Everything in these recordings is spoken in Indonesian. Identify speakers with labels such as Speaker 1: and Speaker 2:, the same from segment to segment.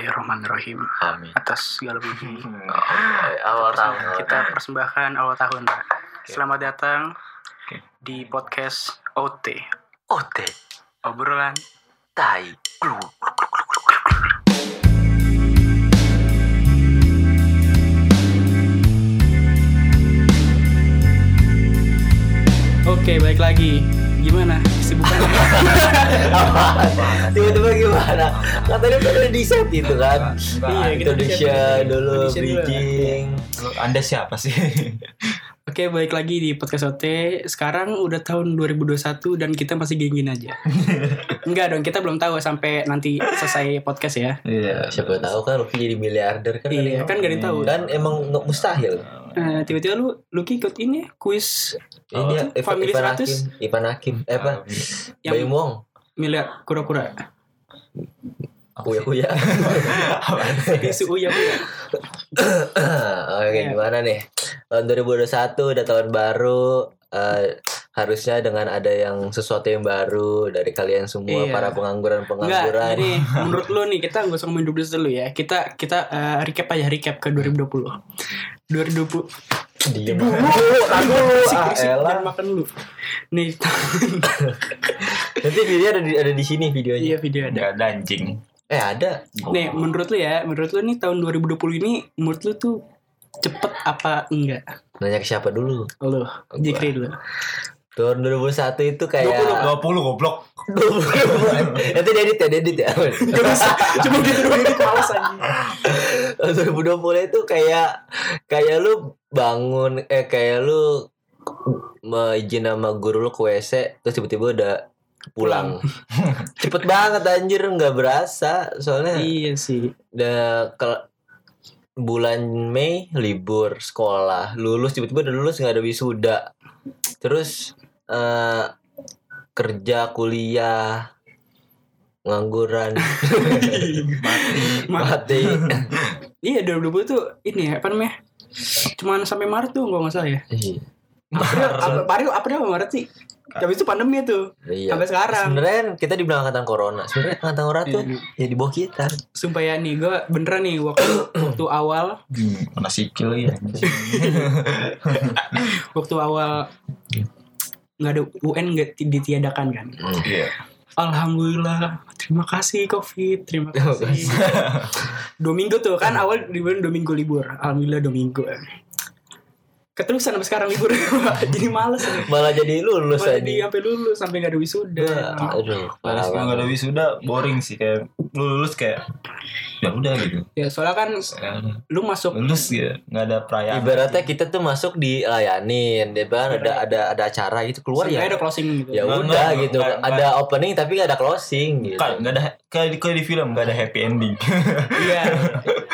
Speaker 1: Bismillahirrahmanirrahim.
Speaker 2: Amin.
Speaker 1: Atas segala puji.
Speaker 2: Hmm. Awal tahun. awal
Speaker 1: Kita
Speaker 2: tahun.
Speaker 1: persembahkan awal tahun, Pak.
Speaker 2: Oke.
Speaker 1: Selamat datang
Speaker 2: Oke.
Speaker 1: di podcast OT.
Speaker 2: Ote
Speaker 1: Obrolan.
Speaker 2: tai. Glu, glu, glu, glu, glu, glu.
Speaker 1: Oke, baik lagi. Gimana? Kesibukan? Iya,
Speaker 3: tiba-tiba gimana katanya kan udah di set gitu kan
Speaker 1: Iya, kita di-set.
Speaker 3: introduction dulu
Speaker 1: Introduction dulu.
Speaker 3: bridging
Speaker 2: Lu- Anda siapa sih?
Speaker 1: Oke, baik lagi di podcast OT. Sekarang udah tahun 2021 dan kita masih gengin aja. Enggak dong, kita belum tahu sampai nanti selesai podcast ya.
Speaker 2: Iya.
Speaker 3: siapa tahu kan Lucky jadi miliarder kan
Speaker 1: Iya,
Speaker 3: ada yang
Speaker 1: kan gak ada yang tahu.
Speaker 3: ngomong. kan emang nggak mustahil
Speaker 2: iya.
Speaker 1: Eh, tiba-tiba lu Lucky ikut ini ya, kuis
Speaker 3: ini
Speaker 2: Oh,
Speaker 3: dia
Speaker 1: itu
Speaker 3: Ivan,
Speaker 1: family
Speaker 3: Ivan
Speaker 1: 100?
Speaker 3: Hakim Ivan Hakim eh apa
Speaker 1: Yang-
Speaker 3: Bayu Wong
Speaker 1: miliar kura-kura.
Speaker 3: kuya kuya
Speaker 1: Tisu uyam.
Speaker 3: oke
Speaker 1: Iya.
Speaker 3: gimana nih tahun 2021 udah tahun baru eh, harusnya dengan ada yang sesuatu yang baru dari kalian semua
Speaker 1: Iya.
Speaker 3: para pengangguran
Speaker 1: Enggak,
Speaker 3: pengangguran
Speaker 1: jadi menurut lu nih kita nggak usah ngomongin 2021 dulu ya. Kita kita eh, recap aja recap ke 2020. 2020
Speaker 3: diem dulu tahu dulu ah
Speaker 1: Berisik,
Speaker 3: elah
Speaker 1: jangan makan dulu. Nih,
Speaker 3: Nanti dia ada di, ada di sini
Speaker 1: iya
Speaker 3: videonya.
Speaker 1: video ada.
Speaker 2: Enggak ada anjing.
Speaker 3: Eh ada.
Speaker 1: Nih, menurut lu ya, menurut lu nih tahun 2020 ini menurut lu tuh cepet apa enggak?
Speaker 3: Nanya ke siapa dulu?
Speaker 1: Lu, Jikri dulu.
Speaker 3: Tahun 2021 itu kayak
Speaker 2: 20 20 goblok.
Speaker 3: 20. Nanti dia edit ya, dia edit ya.
Speaker 1: Gak bisa, cuma gitu doang itu males anjing.
Speaker 3: Tahun 2020 itu kayak kayak lu bangun eh kayak lu me- izin sama guru lu ke WC terus tiba-tiba udah pulang. Cepet banget anjir nggak berasa soalnya
Speaker 1: Iya sih.
Speaker 3: udah ke- bulan Mei libur sekolah lulus tiba-tiba udah lulus nggak ada wisuda terus eh, kerja kuliah ngangguran
Speaker 1: Ma-
Speaker 3: mati
Speaker 1: Iya 2020 tuh ini ya, apa namanya? Cuman sampai Maret tuh kalau nggak salah ya.
Speaker 3: Iya.
Speaker 1: April, April, April, April sama Maret sih. Tapi itu pandemi tuh.
Speaker 3: iya
Speaker 1: Sampai sekarang. Iya.
Speaker 3: sebenarnya kan kita dibilang angkatan corona sebenarnya angkatan corona tuh ya di bawah kita
Speaker 1: Sumpah ya nih, gue beneran nih waktu waktu awal,
Speaker 2: Mana sikil ya.
Speaker 1: waktu awal nggak ada UN nggak ti- ditiadakan kan.
Speaker 2: Iya.
Speaker 1: Alhamdulillah, terima kasih COVID, terima
Speaker 3: Oh,
Speaker 1: kasih.
Speaker 3: iya.
Speaker 1: dua minggu tuh kan awal dibilang dua minggu libur, alhamdulillah dua minggu. Keterusan sampai sekarang libur, jadi males nih.
Speaker 3: malah jadi lulus
Speaker 1: Malah Jadi
Speaker 3: tadi
Speaker 1: sampai lulus sampai nggak ada wisuda.
Speaker 3: aduh
Speaker 2: Kalau
Speaker 3: parah
Speaker 2: nggak ada
Speaker 3: banget.
Speaker 2: wisuda boring sih kayak lu lulus kayak ya udah gitu.
Speaker 1: Ya soalnya kan lu masuk
Speaker 2: Lulus ya nggak ada perayaan.
Speaker 3: ibaratnya kita tuh masuk dilayanin dia bahkan ada ada ada acara gitu keluar ya
Speaker 1: sebenarnya ada closing gitu.
Speaker 3: ya
Speaker 2: Enggak,
Speaker 3: udah
Speaker 2: enggak,
Speaker 3: gitu
Speaker 2: enggak,
Speaker 3: ada opening tapi gak ada closing gitu
Speaker 2: Kan nggak ada kayak di, kayak di film nggak ada happy ending.
Speaker 1: Iya,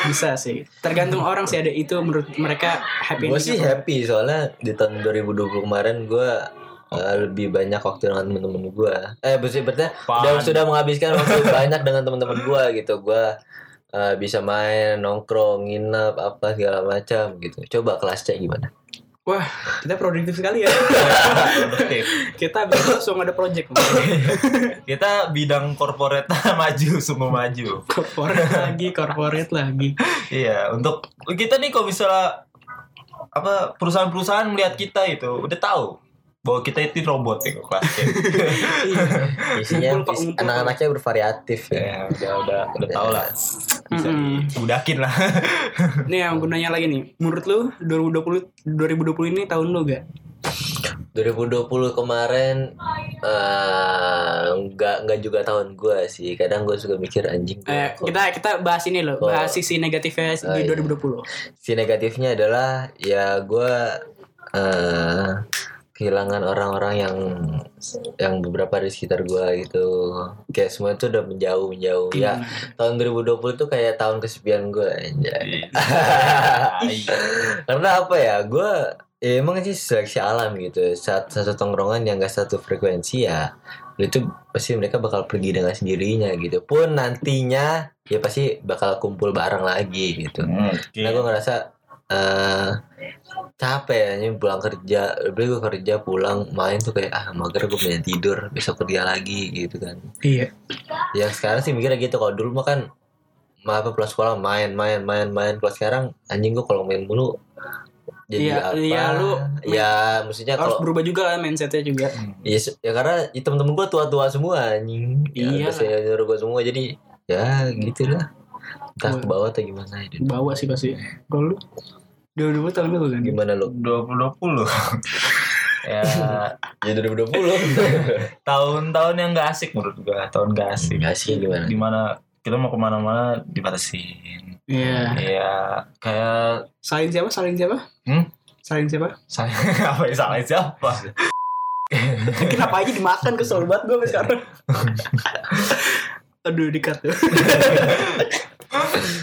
Speaker 1: bisa sih. Tergantung orang sih ada itu menurut mereka happy
Speaker 3: gue
Speaker 1: ending
Speaker 3: sih
Speaker 1: apa
Speaker 3: happy soalnya di tahun 2020 kemarin gue
Speaker 2: Oh.
Speaker 3: lebih banyak waktu dengan temen-temen gue eh maksudnya berarti
Speaker 2: Pan.
Speaker 3: udah sudah menghabiskan waktu banyak dengan temen-temen gue gitu gue eh, bisa main nongkrong nginep apa segala macam gitu coba kelas C gimana
Speaker 1: Wah, kita produktif sekali ya.
Speaker 2: Produktif.
Speaker 1: kita habis itu langsung ada project.
Speaker 2: kita bidang korporat maju semua maju
Speaker 1: Corporate lagi, corporate lagi.
Speaker 2: iya untuk kita nih kalau misalnya apa perusahaan-perusahaan melihat kita itu udah tahu bahwa kita itu robot ya kelas C.
Speaker 1: Iya.
Speaker 3: isinya
Speaker 1: Ngumpul, Pak,
Speaker 3: is-
Speaker 1: ngumpul.
Speaker 3: anak-anaknya bervariatif ya
Speaker 2: ya udah udah udah tahu lah bisa
Speaker 1: Mm-mm.
Speaker 2: dibudakin lah
Speaker 1: Nih yang gunanya lagi nih. Menurut lu 2020 2020 ini tahun lu gak?
Speaker 3: 2020 kemarin eh, nggak nggak juga tahun gue sih kadang gue suka mikir anjing gua
Speaker 1: Eh,
Speaker 3: kok
Speaker 1: kita kita bahas ini loh,
Speaker 3: Oh.
Speaker 1: bahas sisi negatifnya
Speaker 3: Ah,
Speaker 1: di
Speaker 3: iya.
Speaker 1: 2020.
Speaker 3: si negatifnya adalah ya gue eh kehilangan orang-orang yang yang beberapa di sekitar gue gitu kayak semua itu udah menjauh menjauh ya tahun 2020 tuh kayak tahun kesepian gue aja
Speaker 2: Iya.
Speaker 3: karena apa ya gue ya emang sih seleksi alam gitu saat satu tongkrongan yang gak satu frekuensi ya itu pasti mereka bakal pergi dengan sendirinya gitu pun nantinya ya pasti bakal kumpul bareng lagi gitu
Speaker 2: Hmm, oke.
Speaker 3: karena gue ngerasa eh capek ya ini pulang kerja beli gue kerja pulang main tuh kayak ah mager gue pengen tidur besok kerja lagi gitu kan
Speaker 1: Iya.
Speaker 3: ya sekarang sih mikirnya gitu kalau dulu mah kan ma- apa pulang sekolah main main main main kalau sekarang anjing gua kalau main mulu
Speaker 1: Iya,
Speaker 3: jadi apa
Speaker 1: iya, lu-
Speaker 3: ya maksudnya
Speaker 1: harus
Speaker 3: kalau
Speaker 1: berubah juga lah mindsetnya juga
Speaker 3: ya, se- ya karena ya, temen-temen gua tua-tua semua anjing
Speaker 1: Iya. Hmm.
Speaker 3: ya, senior gua semua jadi ya gitulah entah ke bawah atau gimana ya.
Speaker 1: bawa sih pasti kalau lu dua dua tahun lu kan
Speaker 3: gimana lu
Speaker 2: dua puluh puluh ya
Speaker 3: ya 2020
Speaker 2: tahun-tahun yang gak asik menurut gua tahun gak asik
Speaker 3: Gak sih gimana
Speaker 2: dimana kita mau kemana-mana dibatasin
Speaker 1: iya
Speaker 2: ya kayak
Speaker 1: saling siapa saling siapa
Speaker 2: hmm?
Speaker 1: saling siapa
Speaker 2: saya apa yang salah siapa
Speaker 1: kenapa aja dimakan kesel banget gue sekarang aduh dikat tuh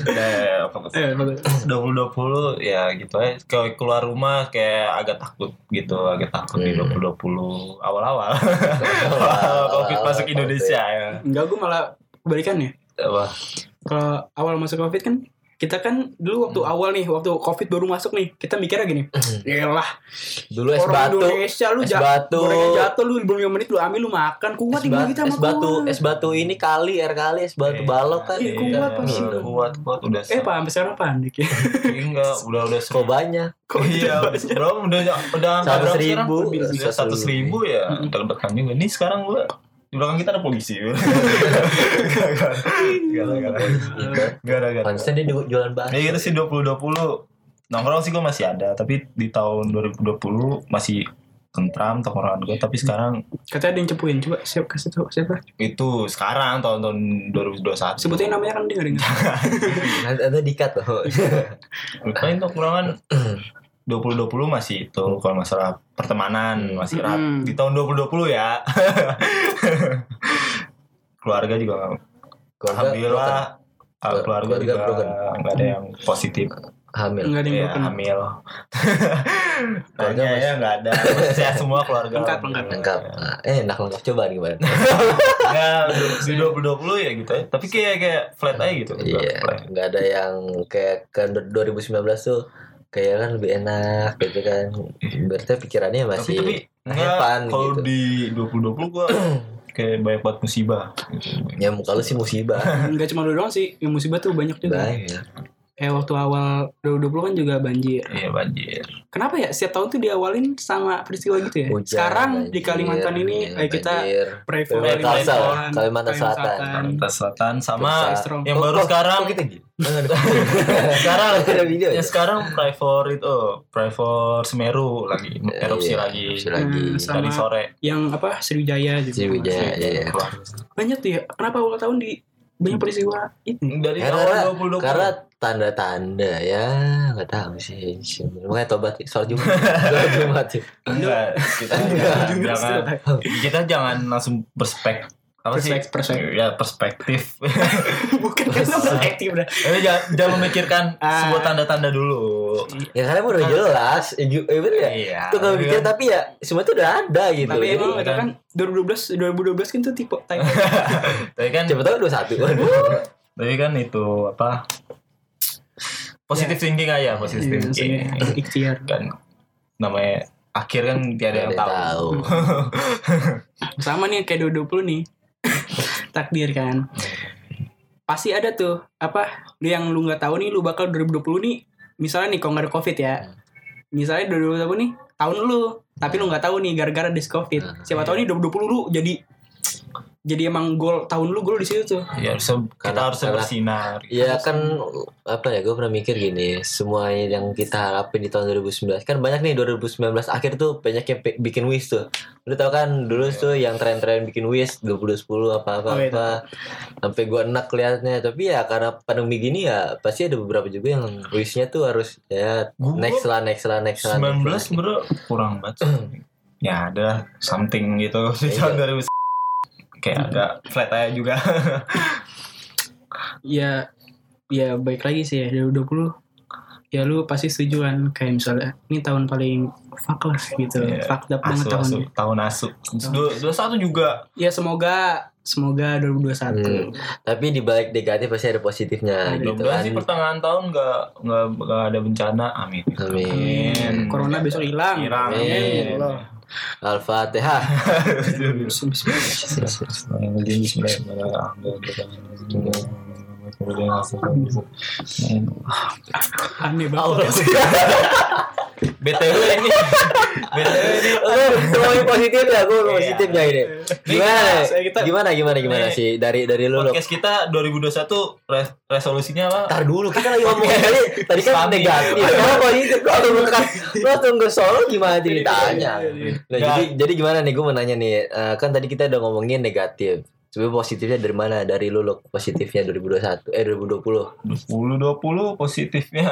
Speaker 2: Nah, apa- apa-
Speaker 1: eh, bagus.
Speaker 2: 2020 ya gitu aja kalau keluar rumah kayak agak takut gitu agak takut di
Speaker 3: Hmm.
Speaker 2: 2020 awal-awal awal covid masuk Indonesia ya
Speaker 1: enggak gue malah kebalikan ya
Speaker 2: apa
Speaker 1: kalau awal masuk covid kan kita kan dulu
Speaker 3: Hmm.
Speaker 1: waktu awal nih waktu covid baru masuk nih kita mikirnya gini Yalah
Speaker 3: dulu es
Speaker 1: orang
Speaker 3: Hmm. batu
Speaker 1: Indonesia lu
Speaker 3: es
Speaker 1: jatuh
Speaker 3: batu
Speaker 1: Gorengan jatuh lu belum 5 menit lu ambil lu makan kuat
Speaker 3: es,
Speaker 1: ini
Speaker 3: ba-
Speaker 2: gitu
Speaker 1: kita
Speaker 3: es
Speaker 1: sama
Speaker 3: batu
Speaker 1: kuat.
Speaker 3: es batu ini kali air kali es
Speaker 2: Iya.
Speaker 3: batu balok kan
Speaker 1: Ih,
Speaker 2: Iya,
Speaker 1: kuat pasti.
Speaker 2: kuat kuat udah
Speaker 1: eh
Speaker 2: se-
Speaker 1: pak sampai sekarang panik ya
Speaker 2: enggak udah udah se-
Speaker 3: kok banyak
Speaker 1: Kok
Speaker 2: iya
Speaker 1: banyak?
Speaker 2: bro udah udah angka
Speaker 3: Seratus
Speaker 2: berapa sekarang?
Speaker 3: ribu.
Speaker 2: udah
Speaker 3: Seratus
Speaker 2: seratus ribu ya
Speaker 1: Mm-mm.
Speaker 2: terdekat juga nih sekarang gua di belakang kita ada polisi
Speaker 3: Iya.
Speaker 2: gara-gara
Speaker 3: konsisten dia ju- jualan
Speaker 2: Ya
Speaker 3: bakso
Speaker 2: gitu sih 2020 Nongkrong sih gue masih ada Tapi di tahun 2020 masih tentram tongkrongan gue Tapi sekarang
Speaker 1: katanya ada yang cepuin coba siap kasih tahu siapa
Speaker 2: itu sekarang tahun-tahun 2021
Speaker 1: sebutin namanya kan dia nggak
Speaker 3: Iya,
Speaker 1: dengar
Speaker 3: nanti nanti dikat loh
Speaker 2: Iya. Paling tongkrongan 2020 masih itu Kalau masalah pertemanan masih rap
Speaker 1: Mm-mm.
Speaker 2: Di tahun 2020 ya Keluarga juga Alhamdulillah
Speaker 3: broken.
Speaker 2: Keluarga
Speaker 3: Keluarga
Speaker 2: juga
Speaker 3: broken.
Speaker 2: nggak ada yang positif
Speaker 3: hamil
Speaker 1: nggak ada yang
Speaker 2: Iya,
Speaker 1: broken
Speaker 2: hamil.
Speaker 3: Keluarga
Speaker 2: Nanya ya
Speaker 3: masih-
Speaker 2: nggak ada. Sehat semua keluarga.
Speaker 1: Lengkap, lengkap.
Speaker 3: lengkap Ah, eh enak lengkap coba nih gimana
Speaker 2: Ya, di 2020 ya gitu ya. Tapi kayak kayak flat aja gitu.
Speaker 3: iya
Speaker 2: Flat.
Speaker 3: nggak ada yang kayak kan 2019 tuh kayak kan lebih enak gitu kan berarti pikirannya
Speaker 2: Iya. Tapi
Speaker 3: masih
Speaker 2: tapi enggak
Speaker 3: apaan
Speaker 2: kalau
Speaker 3: gitu.
Speaker 2: di 2020 gua kayak banyak banget musibah.
Speaker 3: ya muka lu sih musibah
Speaker 1: nggak cuma lu doang sih yang musibah tuh banyak
Speaker 2: Iya.
Speaker 1: juga
Speaker 3: banyak
Speaker 1: eh waktu awal 2020 kan juga banjir
Speaker 2: Iya banjir.
Speaker 1: kenapa ya setiap tahun tuh diawalin sama peristiwa gitu ya
Speaker 3: Hujan,
Speaker 1: sekarang di
Speaker 3: banjir,
Speaker 1: Kalimantan ini
Speaker 3: ya,
Speaker 1: eh, kita
Speaker 3: banjir.
Speaker 1: pray for
Speaker 2: Kalimantan
Speaker 3: Selatan, Kalimantan Selatan.
Speaker 2: Kalimantan Selatan sama
Speaker 3: Besar.
Speaker 1: strong.
Speaker 2: yang
Speaker 3: Kok-
Speaker 2: baru
Speaker 3: kok-
Speaker 2: sekarang
Speaker 3: kok kita gitu
Speaker 2: sekarang
Speaker 3: Ada video ya?
Speaker 2: ya sekarang pray for itu pray for Semeru lagi erupsi
Speaker 3: Iya,
Speaker 2: lagi
Speaker 3: erupsi lagi
Speaker 1: Hmm,
Speaker 2: tadi
Speaker 1: Sama-
Speaker 2: sore
Speaker 1: yang apa Sriwijaya juga
Speaker 3: Sriwijaya, iya, iya.
Speaker 1: banyak tuh ya kenapa awal tahun di banyak peristiwa ini
Speaker 2: dari
Speaker 3: Karena-
Speaker 2: tahun 2020
Speaker 3: karena tanda-tanda ya nggak tahu sih makanya tobat soal jumat soal jumat sih
Speaker 2: Enggak, kita jangan kita jangan langsung perspek apa sih?
Speaker 1: Perspek- perspek.
Speaker 2: Ya perspektif.
Speaker 1: bukan kan perspektif dah
Speaker 2: Tapi jangan, jangan memikirkan
Speaker 1: Ah.
Speaker 2: sebuah tanda-tanda dulu.
Speaker 3: ya karena emang udah jelas eh, ju- eh, bener ya
Speaker 2: Iya.
Speaker 3: tuh kalau mikir tapi ya semua tuh udah ada gitu
Speaker 1: tapi
Speaker 3: Jadi,
Speaker 1: emang kita kan 2012 2012 kan tuh tipe type
Speaker 2: Tapi kan
Speaker 3: Siapa tahu dua satu.
Speaker 2: tapi kan itu apa? Positif thinking aja, positif
Speaker 1: Iya,
Speaker 2: thinking.
Speaker 1: maksudnya ikhtiar
Speaker 2: Kan namanya akhir kan tiada yang tahu.
Speaker 1: sama nih kayak 2020 nih takdir kan pasti ada tuh apa lu yang lu nggak tahu nih lu bakal 2020 nih misalnya nih kalau nggak ada covid ya misalnya 2020 nih tahun lu tapi lu nggak tahu nih gara-gara dis covid siapa tahu nih 2020 lu jadi jadi emang goal tahun lu goal di situ tuh
Speaker 2: Ya, harus kita
Speaker 3: Karena-
Speaker 2: harus
Speaker 3: karena-
Speaker 2: bersinar.
Speaker 3: Ya kan apa ya gue pernah mikir gini semua yang kita harapin di tahun 2019 kan banyak nih 2019 akhir tuh banyak yang pi- bikin wish tuh lu tau kan dulu tuh yang tren-tren bikin wish 2010 apa apa
Speaker 1: Oh, iya.
Speaker 3: apa sampai gue enak kelihatannya tapi ya karena pandemi gini ya pasti ada beberapa juga yang wishnya tuh harus ya
Speaker 2: Gua-
Speaker 3: next lah next lah next lah
Speaker 2: 19
Speaker 3: next lah.
Speaker 2: sebenernya kurang banget ya ada something gitu di
Speaker 3: Iya.
Speaker 2: tahun 2000 kayak agak flat aja juga
Speaker 1: ya ya baik lagi sih ya 2020 ya lu pasti setuju kan kayak misalnya ini tahun paling fuck lah gitu
Speaker 2: Iya.
Speaker 1: fuck up banget
Speaker 2: asu asu
Speaker 1: tahunnya
Speaker 2: tahun asu dua dua satu juga
Speaker 1: ya semoga semoga 2021
Speaker 3: Hmm. tapi di balik negatif pasti ada
Speaker 1: Ada.
Speaker 3: positifnya gitu
Speaker 2: mudah-mudahan
Speaker 3: kan
Speaker 2: sih pertengahan tahun nggak nggak nggak ada bencana amin
Speaker 3: amin
Speaker 2: Hmm.
Speaker 1: corona besok hilang
Speaker 2: Hilang.
Speaker 1: Amin. Ya Allah.
Speaker 3: al-fatihah
Speaker 1: Bismillah.
Speaker 2: Bismillahirrahmanirrahim. kemudian langsung Main.
Speaker 1: aneh
Speaker 3: Allah.
Speaker 1: banget sih.
Speaker 2: btw ini btw ini
Speaker 3: Lu ngomongin positif ya, gue
Speaker 2: Iya.
Speaker 3: positif ya ini. Gimana?
Speaker 1: kita- saya- kita-
Speaker 3: Gimana gimana gimana
Speaker 2: Nih.
Speaker 3: sih dari dari lu? lu?
Speaker 2: podcast kita 2021 re- resolusinya apa
Speaker 3: Ntar dulu kita lagi ngomong tadi tadi kan
Speaker 2: Islami.
Speaker 3: negatif. Kalau positif lu tunggu Iya, kan lu tunggu solo gimana ceritanya? Nah,
Speaker 2: Nggak.
Speaker 3: jadi jadi gimana nih gue mau nanya nih Eh, kan tadi kita udah ngomongin negatif. Coba positifnya dari mana? Dari lu lu positifnya 2021 eh 2020
Speaker 2: 10 20 positifnya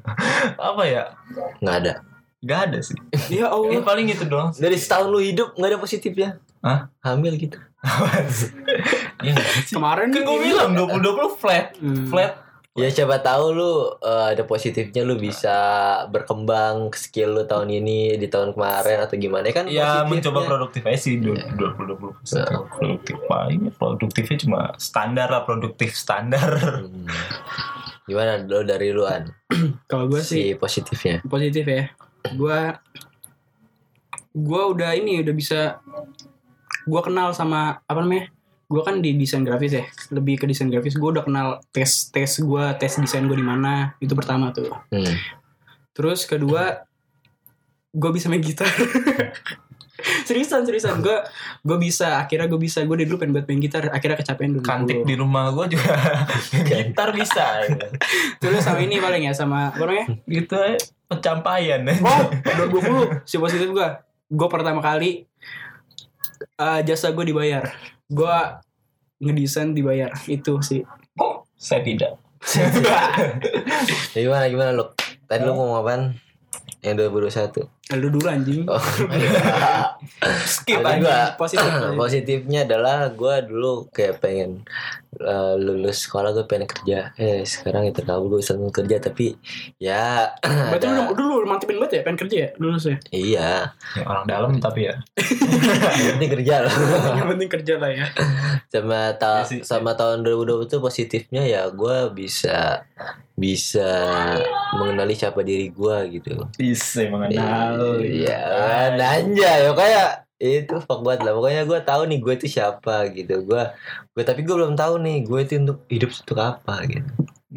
Speaker 2: apa ya
Speaker 3: nggak ada.
Speaker 2: Gak ada sih
Speaker 1: ya
Speaker 2: Ini
Speaker 1: Allah
Speaker 2: paling gitu doang sih.
Speaker 3: Dari setahun lu hidup nggak ada positifnya.
Speaker 2: Hah?
Speaker 3: Hamil gitu.
Speaker 2: Iya nggak sih?
Speaker 1: kemarin
Speaker 2: Kan gue bilang 2020 flat
Speaker 1: Hmm.
Speaker 2: Flat
Speaker 3: Ya siapa tahu lu eh, ada positifnya lu bisa berkembang skill lu tahun ini di tahun kemarin atau gimana kan?
Speaker 2: Ya
Speaker 3: positifnya.
Speaker 2: mencoba produktif aja sih 2020 Produktif paling produktifnya cuma standar lah Produktif standar
Speaker 3: Hmm. Gimana lu dari luan
Speaker 1: kalau gue sih
Speaker 3: si positifnya?
Speaker 1: positif ya gua gua udah ini udah bisa gua kenal sama apa namanya gua kan di desain grafis ya lebih ke desain grafis gua udah kenal tes tes gua tes desain gua di mana itu pertama tuh
Speaker 3: Hmm.
Speaker 1: terus kedua gua bisa main gitar seriusan seriusan gua gua bisa akhirnya gua bisa gua dari dulu pengen buat main gitar akhirnya kecapean dulu
Speaker 2: Kantik di rumah gue juga Gitar bisa ya.
Speaker 1: terus sama ini paling ya sama apa namanya
Speaker 2: Gitu aja Pencapaian
Speaker 1: Oh, 2020 si positif gue. Gue pertama kali eh, jasa gue dibayar. Gue ngedesain dibayar itu sih.
Speaker 2: Oh, Saya tidak
Speaker 3: Ya, gimana gimana lu? Tadi lu ngomong apaan? Yang 2021.
Speaker 1: Eh, Lu dulu anjing.
Speaker 3: Oh.
Speaker 2: Skip aja
Speaker 3: Tadi gua
Speaker 1: Positif.
Speaker 3: positifnya adalah gua dulu kayak pengen eh, lulus sekolah gue pengen kerja. Eh sekarang ya terkabul gue bisa kerja tapi ya
Speaker 1: Berarti lu
Speaker 3: ada-
Speaker 1: udah- dulu lu mantepin banget ya pengen kerja ya lulus ya.
Speaker 3: iya.
Speaker 2: Ya, Orang dalam tapi ya
Speaker 3: Yang penting kerja loh.
Speaker 1: Yang penting kerja lah ya.
Speaker 3: Sama
Speaker 2: Ya
Speaker 3: ta-
Speaker 2: sih.
Speaker 3: sama tahun 2020 tuh positifnya ya gua bisa bisa mengenali siapa diri gua gitu.
Speaker 2: Bisa mengenal Ah,
Speaker 3: Iya, nanya ya kayak itu fuck banget lah pokoknya gua tahu nih gue itu siapa gitu gua gue tapi gue belum tahu nih gue itu untuk hidup untuk apa gitu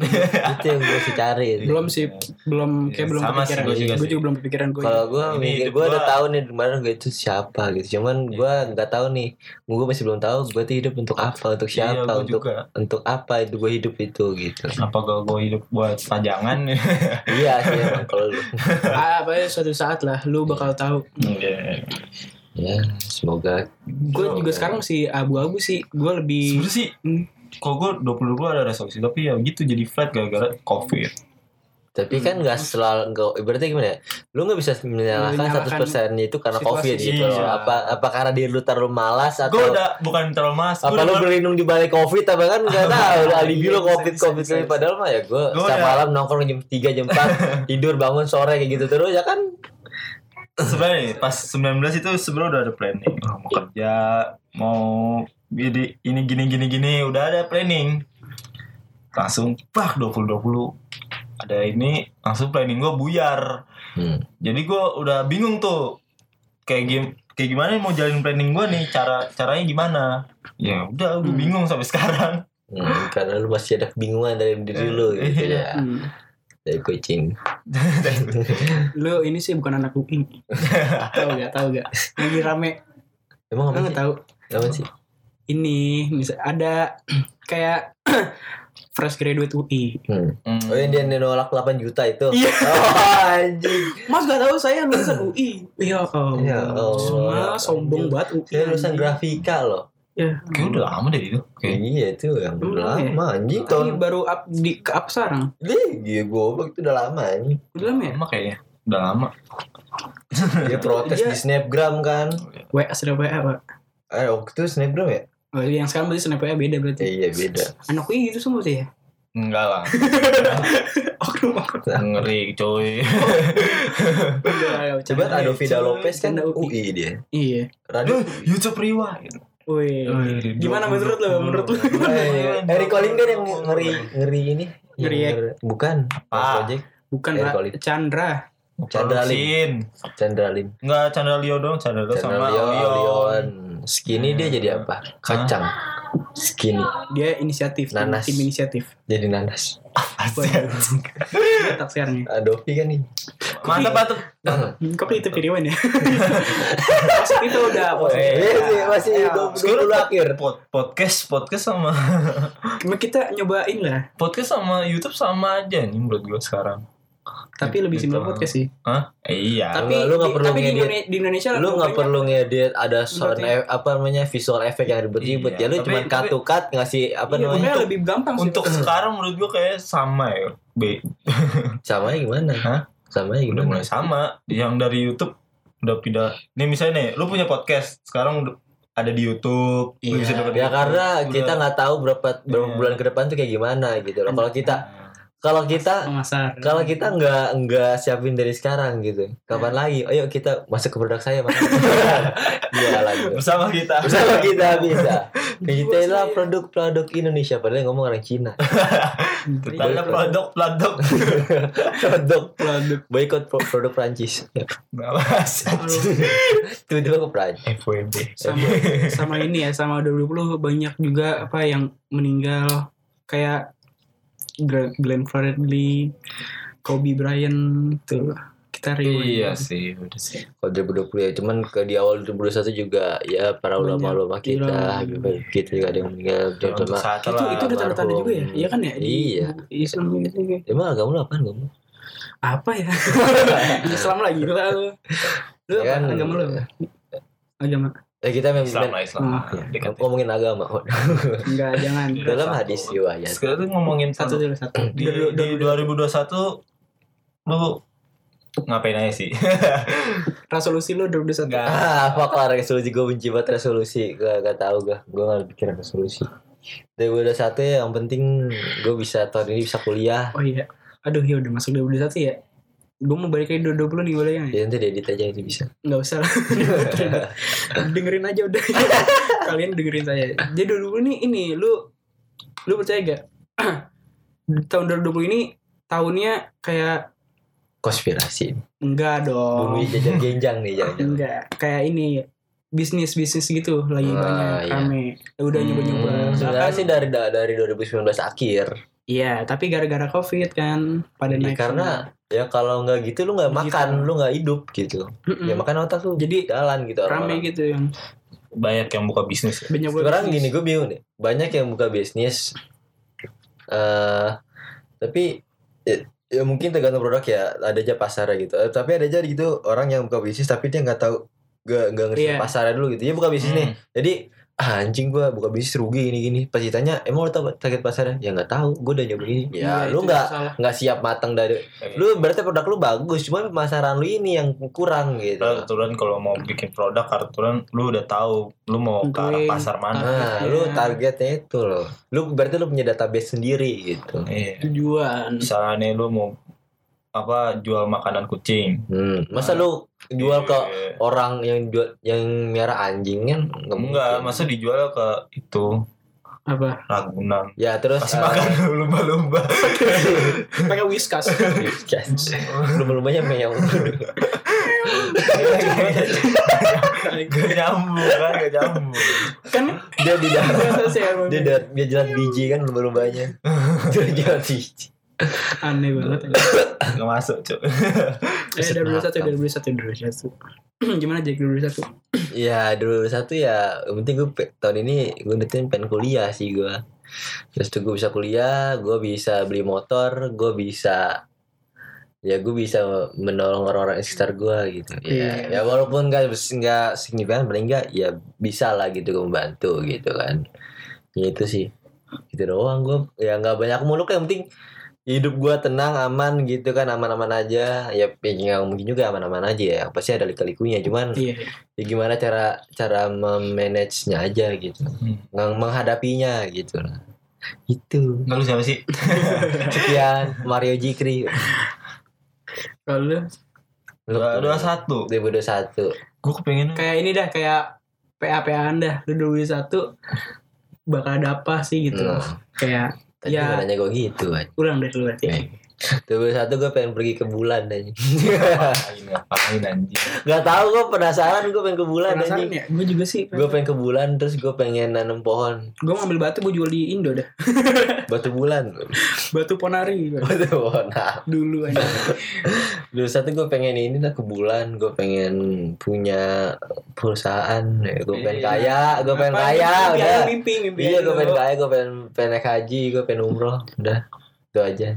Speaker 3: itu yang gue cari
Speaker 1: Belum sih belum kayak
Speaker 2: Iya,
Speaker 1: belum
Speaker 2: sama sih,
Speaker 1: kepikiran.
Speaker 2: gua juga
Speaker 1: Gue
Speaker 2: sih.
Speaker 1: juga belum kepikiran gue.
Speaker 3: kalau gue
Speaker 2: Ini
Speaker 3: mikir
Speaker 2: hidup
Speaker 3: gue udah
Speaker 2: gua. Iya.
Speaker 3: tahu nih kemarin gue itu siapa gitu cuman gua nggak tahu nih gue masih belum tahu gue itu hidup untuk apa untuk siapa
Speaker 2: Iya, gua
Speaker 3: untuk
Speaker 2: juga.
Speaker 3: untuk apa itu gue hidup itu gitu
Speaker 2: Apa gua gua hidup buat pajangan?
Speaker 3: iya sih emang kalau lu
Speaker 1: Ah, apa ya, suatu saat lah lu bakal tahu.
Speaker 2: Iya.
Speaker 3: ya semoga
Speaker 1: Gue juga sekarang masih abu-abu sih. Gue lebih
Speaker 2: Sebenernya sih,
Speaker 1: Hmm.
Speaker 2: kalau gue 2020 ada resolusi, tapi ya gitu jadi flat gara-gara covid.
Speaker 3: tapi kan nggak selalu nggak berarti gimana ya lu nggak bisa menyalahkan
Speaker 1: Menyalahkan
Speaker 3: satu persennya itu karena
Speaker 1: situasi.
Speaker 3: covid gitu loh.
Speaker 2: Iya.
Speaker 3: apa apa karena diri lu terlalu malas
Speaker 2: Gue
Speaker 3: atau
Speaker 2: udah bukan terlalu mas,
Speaker 3: apa
Speaker 2: gue
Speaker 3: lu
Speaker 2: udah
Speaker 3: berlindung di balik covid apa kan nggak tahu lu alibi lu covid covid covid padahal mah ya gue
Speaker 2: Gua
Speaker 3: setiap
Speaker 2: udah-
Speaker 3: malam nongkrong jam 3 jam 4 tidur bangun sore kayak gitu terus ya kan
Speaker 2: sebenarnya pas 19 itu sebenarnya udah ada planning. Oh, mau kerja, mau jadi ini gini gini gini udah ada planning. Langsung pak 2020 ada ini langsung planning gue buyar.
Speaker 3: hmm.
Speaker 2: Jadi gue udah bingung tuh kayak game kayak gimana mau jalin planning gue nih cara caranya gimana? Ya udah gue
Speaker 1: Hmm.
Speaker 2: bingung sampai sekarang.
Speaker 3: Hmm, karena lu masih ada kebingungan dari diri lu gitu ya
Speaker 1: Hmm.
Speaker 3: dari kucing
Speaker 1: Lu ini sih bukan anak kuping. tahu gak? Tahu gak? Lagi rame.
Speaker 3: emang
Speaker 1: Lu
Speaker 3: apa
Speaker 1: nggak
Speaker 3: sih
Speaker 1: tahu?
Speaker 3: apa sih
Speaker 1: ini bisa ada kayak fresh graduate UI.
Speaker 3: Hmm. Oh yang dia nolak 8 juta itu.
Speaker 1: Iya.
Speaker 3: Oh, anjing.
Speaker 1: Mas gak tahu saya lulusan UI. Ya
Speaker 3: Ya
Speaker 1: Allah.
Speaker 3: Allah.
Speaker 1: Semua sombong banget UI.
Speaker 3: Saya lulusan grafika loh.
Speaker 1: Ya.
Speaker 2: Kayak udah lama deh itu. Kayak
Speaker 3: Iya itu yang
Speaker 1: Emang
Speaker 3: udah
Speaker 1: ya?
Speaker 3: lama anjing
Speaker 1: Ini
Speaker 3: tahun
Speaker 1: baru up di ke up sekarang.
Speaker 3: Iya goblok itu udah lama anjing.
Speaker 1: Udah lama ya?
Speaker 2: lama kayaknya. Udah lama.
Speaker 3: Dia protes
Speaker 1: Iya.
Speaker 3: di Snapgram kan.
Speaker 1: WA sudah WA, Pak.
Speaker 3: Eh waktu itu Snapgram ya?
Speaker 1: Oh, yang sekarang berarti snap WA beda berarti.
Speaker 3: Ya, iya beda.
Speaker 1: Anak UI gitu semua sih ya.
Speaker 2: Enggak lah.
Speaker 1: Oknum oknum.
Speaker 2: Ngeri coy.
Speaker 3: Coba
Speaker 1: Bercanda,
Speaker 3: Adovida
Speaker 1: bercanda,
Speaker 3: Lopez kan
Speaker 1: bercanda UI.
Speaker 3: UI dia.
Speaker 1: Iya.
Speaker 3: Radio
Speaker 2: Aduh, YouTube rewind.
Speaker 1: Wih. Gimana menurut lo? Menurut lo?
Speaker 3: Eh, Eric Colin kan yang ngeri ngeri ini.
Speaker 1: Ngeri
Speaker 3: Yang- Bukan.
Speaker 2: Apa?
Speaker 3: Project.
Speaker 1: Bukan
Speaker 3: Eh,
Speaker 1: Pak
Speaker 3: Colin.
Speaker 1: Chandra.
Speaker 3: Chandra Lim.
Speaker 2: Lin.
Speaker 3: Chandra Lim.
Speaker 2: Enggak Chandra Leo dong, Chandra Leo
Speaker 3: Chandra
Speaker 2: sama
Speaker 3: Leo,
Speaker 2: Leon.
Speaker 3: Leon. Skinny dia jadi apa? Kacang. Skinny.
Speaker 1: Dia inisiatif, tim,
Speaker 3: Nanas.
Speaker 1: tim inisiatif.
Speaker 3: Jadi nanas.
Speaker 1: Waduh. Dia taksiarnya.
Speaker 3: Adopi kan ini.
Speaker 2: Mantap mantap.
Speaker 1: Hmm, Kok itu piriwan ya? Maksud itu udah maksudnya.
Speaker 2: Eh,
Speaker 3: Iya, masih
Speaker 1: Iya.
Speaker 3: 20 akhir.
Speaker 2: Pod- podcast podcast sama
Speaker 1: Cuma kita nyobain lah,
Speaker 2: podcast sama YouTube sama aja nih menurut gue sekarang.
Speaker 1: tapi lebih
Speaker 2: Gitu.
Speaker 1: simpel podcast sih.
Speaker 2: Hah? Iya.
Speaker 1: Tapi
Speaker 3: lu
Speaker 1: di-
Speaker 3: nggak perlu
Speaker 1: tapi di,
Speaker 3: ngedit.
Speaker 1: Indone- di Indonesia
Speaker 3: Lu
Speaker 1: pokoknya
Speaker 3: nggak perlu ngedit ada sound
Speaker 1: Berarti-
Speaker 3: eff- apa namanya visual effect yang ribet-ribet
Speaker 2: Iya,
Speaker 3: ya lu
Speaker 2: tapi-
Speaker 3: cuma
Speaker 2: tapi-
Speaker 3: cut to cut ngasih apa
Speaker 1: Iya,
Speaker 3: namanya
Speaker 1: pokoknya lebih gampang sih.
Speaker 2: Untuk sekarang menurut gue kayak sama ya. Be,
Speaker 3: samanya gimana?
Speaker 2: Hah?
Speaker 3: Samanya
Speaker 2: udah
Speaker 3: gimana?
Speaker 2: mulai sama. Yang dari YouTube udah pindah. Nih misalnya nih, lu punya podcast sekarang udah ada di YouTube.
Speaker 1: Iya.
Speaker 2: lu bisa dapat
Speaker 3: Ya
Speaker 2: YouTube.
Speaker 3: karena
Speaker 2: Udah.
Speaker 3: kita nggak tahu berapa berapa
Speaker 2: Iya.
Speaker 3: bulan ke depan tuh kayak gimana gitu loh. Kalau kita kalau kita
Speaker 1: Pengasar.
Speaker 3: kalau kita nggak nggak siapin dari sekarang gitu kapan lagi ayo kita masuk ke produk saya mas iya lagi
Speaker 2: bersama kita.
Speaker 3: bersama kita bisa kita adalah
Speaker 2: iya.
Speaker 3: produk-produk Indonesia padahal yang ngomong orang Cina
Speaker 1: Iya.
Speaker 2: Karena produk-produk
Speaker 3: produk
Speaker 1: Produk.
Speaker 3: boykot pro- produk Prancis
Speaker 2: Ngawas
Speaker 3: tiba-tiba ke Prancis
Speaker 2: FWB
Speaker 1: sama sama ini ya sama 2020 banyak juga apa yang meninggal kayak Gra- Glenn Fredly, Kobe Bryant tuh kita rewind.
Speaker 2: Iya sih Udah sih
Speaker 3: kalau 2020 ya cuman ke di awal 2021 juga ya para
Speaker 1: Banyak.
Speaker 3: ulama-ulama kita
Speaker 1: Iya.
Speaker 3: Habib-habib kita juga ada yang meninggal
Speaker 2: Untuk
Speaker 3: terutama
Speaker 2: saat
Speaker 1: Itu itu udah tanda-tanda juga ya? Iya kan ya? Di
Speaker 3: Iya.
Speaker 1: Islam gitu kayak,
Speaker 3: Emang agama lu apaan kamu?
Speaker 1: apa ya? Islam lagi lah
Speaker 2: Iya
Speaker 1: lu. Lu
Speaker 3: Ya
Speaker 1: apa
Speaker 3: kan?
Speaker 1: agama lu? apa? Agama.
Speaker 3: Eh kita memang
Speaker 2: Islam lah
Speaker 1: Hmm.
Speaker 2: Islam lah.
Speaker 3: Iya,
Speaker 2: Dekat.
Speaker 3: ngomongin agama
Speaker 1: Enggak, jangan.
Speaker 3: dalam hadis
Speaker 2: ya.
Speaker 3: riwayat
Speaker 2: Sekarang tuh ngomongin
Speaker 1: Satu
Speaker 2: satu
Speaker 1: dulu satu.
Speaker 2: Di,
Speaker 1: Dulu,
Speaker 2: di
Speaker 1: dulu.
Speaker 2: 2021 Lu Ngapain aja sih
Speaker 1: Resolusi lu 2021.
Speaker 2: Enggak
Speaker 3: Ah, fuck lah resolusi gue benci banget resolusi gak, gak tau gue gue gak pikiran resolusi dari udah satu ya yang penting gue bisa tahun ini bisa kuliah
Speaker 1: Oh iya. Aduh, ya udah masuk 2021 ya. Gue mau balik lagi 2020 nih boleh
Speaker 2: Iya,
Speaker 1: nggak? ya?
Speaker 3: ya nanti diedit aja itu bisa
Speaker 1: Nggak usah lah. dengerin aja udah. Kalian dengerin saya. Jadi 2020 nih ini lu lu percaya gak? tahun 2020 ini tahunnya kayak
Speaker 3: konspirasi
Speaker 1: enggak dong.
Speaker 3: bumi jajan genjang nih jangan
Speaker 1: Enggak, kayak ini bisnis bisnis gitu lagi
Speaker 3: Ah,
Speaker 1: banyak
Speaker 3: iya.
Speaker 1: rame. Udah nyoba nyoba.
Speaker 3: hmm, sebenarnya sih dari da- dari 2019 akhir
Speaker 1: Iya, tapi gara-gara covid kan pada
Speaker 3: Ya,
Speaker 1: naik.
Speaker 3: karena ya kalau nggak gitu lu nggak
Speaker 1: Begitu.
Speaker 3: makan lu nggak hidup gitu
Speaker 1: semua. Mm-mm.
Speaker 3: ya makan otak lu
Speaker 1: Jadi,
Speaker 3: jalan gitu
Speaker 1: rame
Speaker 3: orang-orang.
Speaker 1: gitu yang
Speaker 2: Banyak yang buka bisnis ya.
Speaker 1: banyak banget
Speaker 3: Sekarang
Speaker 1: bisnis.
Speaker 3: gini gue bingung deh. Banyak yang buka bisnis. eh tapi ya, ya mungkin tergantung produk ya. Ada aja pasarnya gitu. Eh, tapi ada aja gitu orang yang buka bisnis tapi dia nggak tahu gak, nggak ngerti
Speaker 1: Iya. Hmm.
Speaker 3: pasarnya dulu gitu. Dia buka bisnis nih. Jadi ah, anjing gua buka bisnis rugi gini gini. Pas ditanya emang lu tahu target pasarnya? Ya nggak tahu. Gue udah nyoba ini.
Speaker 1: Iya,
Speaker 3: Ya, lu
Speaker 1: itu
Speaker 3: nggak
Speaker 1: salah.
Speaker 3: nggak siap matang dari
Speaker 2: Lu
Speaker 3: lu berarti produk lu bagus cuma pemasaran lu ini yang kurang gitu
Speaker 2: Kebetulan kalau mau bikin produk Kebetulan lu udah tahu Lu mau ke arah
Speaker 1: Oke.
Speaker 2: pasar mana
Speaker 3: nah lu targetnya itu loh lu berarti lu punya database sendiri gitu
Speaker 2: Iya
Speaker 1: tujuan.
Speaker 2: misalnya nih lu mau apa jual makanan kucing
Speaker 3: Hmm, masa lu jual ke
Speaker 2: Iya.
Speaker 3: orang yang jual yang merah anjing kan nggak mungkin.
Speaker 2: enggak Iya, masa dijual ke itu
Speaker 1: Apa?
Speaker 2: Ragunan
Speaker 3: Ya terus
Speaker 2: kasih
Speaker 3: eh,
Speaker 2: makan lumba-lumba
Speaker 1: Pakai whiskas.
Speaker 3: yes. eh, Lumba-lumbanya meong.
Speaker 2: gak nyambung kan gak nyambung
Speaker 1: kan
Speaker 3: dia di dalam
Speaker 1: udah selesai ya,
Speaker 3: dia da- dia jilat biji kan lumba-lumbanya. dia jilat biji.
Speaker 1: aneh banget.
Speaker 2: gak masuk cuy
Speaker 1: Eh, dari dua satu, dari dua satu, dari satu. Gimana Jack dari satu?
Speaker 3: Ya dulu satu ya yang penting gue pe- tahun ini gue netin pengen kuliah sih gue Terus tuh gue bisa kuliah, gue bisa beli motor, gue bisa ya gue bisa menolong orang-orang di sekitar gue gitu ya
Speaker 1: Iya.
Speaker 3: ya walaupun nggak bes- nggak signifikan paling nggak ya bisa lah gitu gue membantu gitu kan ya itu sih gitu doang gue ya nggak banyak muluk yang penting hidup gue tenang aman gitu kan aman-aman aja ya ya nggak mungkin juga aman-aman aja ya pasti ada lika-likunya cuman
Speaker 1: Iya.
Speaker 3: ya gimana cara cara memanage-nya aja gitu
Speaker 2: Hmm.
Speaker 3: Nge- menghadapinya gitu lah itu
Speaker 2: nggak lu siapa sih
Speaker 3: sekian Mario Jikri
Speaker 1: Kalau lu
Speaker 2: dua dua satu
Speaker 3: 2021
Speaker 2: gue kepengen
Speaker 1: kayak ini dah kayak PA PA anda lu dua satu bakal ada apa sih gitu?
Speaker 3: Nah,
Speaker 1: Kayak
Speaker 3: tadi
Speaker 1: Ya. Iya.
Speaker 3: nanya gue gitu kan
Speaker 1: ulang dari lu berarti.
Speaker 3: Eh, 2021 gue pengen pergi ke bulan aja.
Speaker 2: Ngapain ngapain anjing.
Speaker 3: Gak tau gue penasaran gue pengen ke bulan aja.
Speaker 1: Penasaran ya? Gue juga sih.
Speaker 3: Gue pengen ke bulan terus gue pengen nanam pohon
Speaker 1: Gue ngambil batu gue jual di Indo dah.
Speaker 3: batu bulan.
Speaker 1: batu ponari gua.
Speaker 3: Batu pohon. Nah,
Speaker 1: dulu aja.
Speaker 3: 2021 gue pengen ini lah ke bulan. Gue pengen punya perusahaan. Gue pengen
Speaker 2: Iya.
Speaker 3: kaya. Gue pengen
Speaker 1: Apa,
Speaker 3: kaya.
Speaker 1: mimpi
Speaker 3: Udah.
Speaker 1: aja, Mimpi, mimpi.
Speaker 3: Iya
Speaker 1: aja
Speaker 3: gue pengen
Speaker 1: dulu.
Speaker 3: kaya. Gue pengen pengen naik haji. Gue pengen umroh. Udah. Itu aja.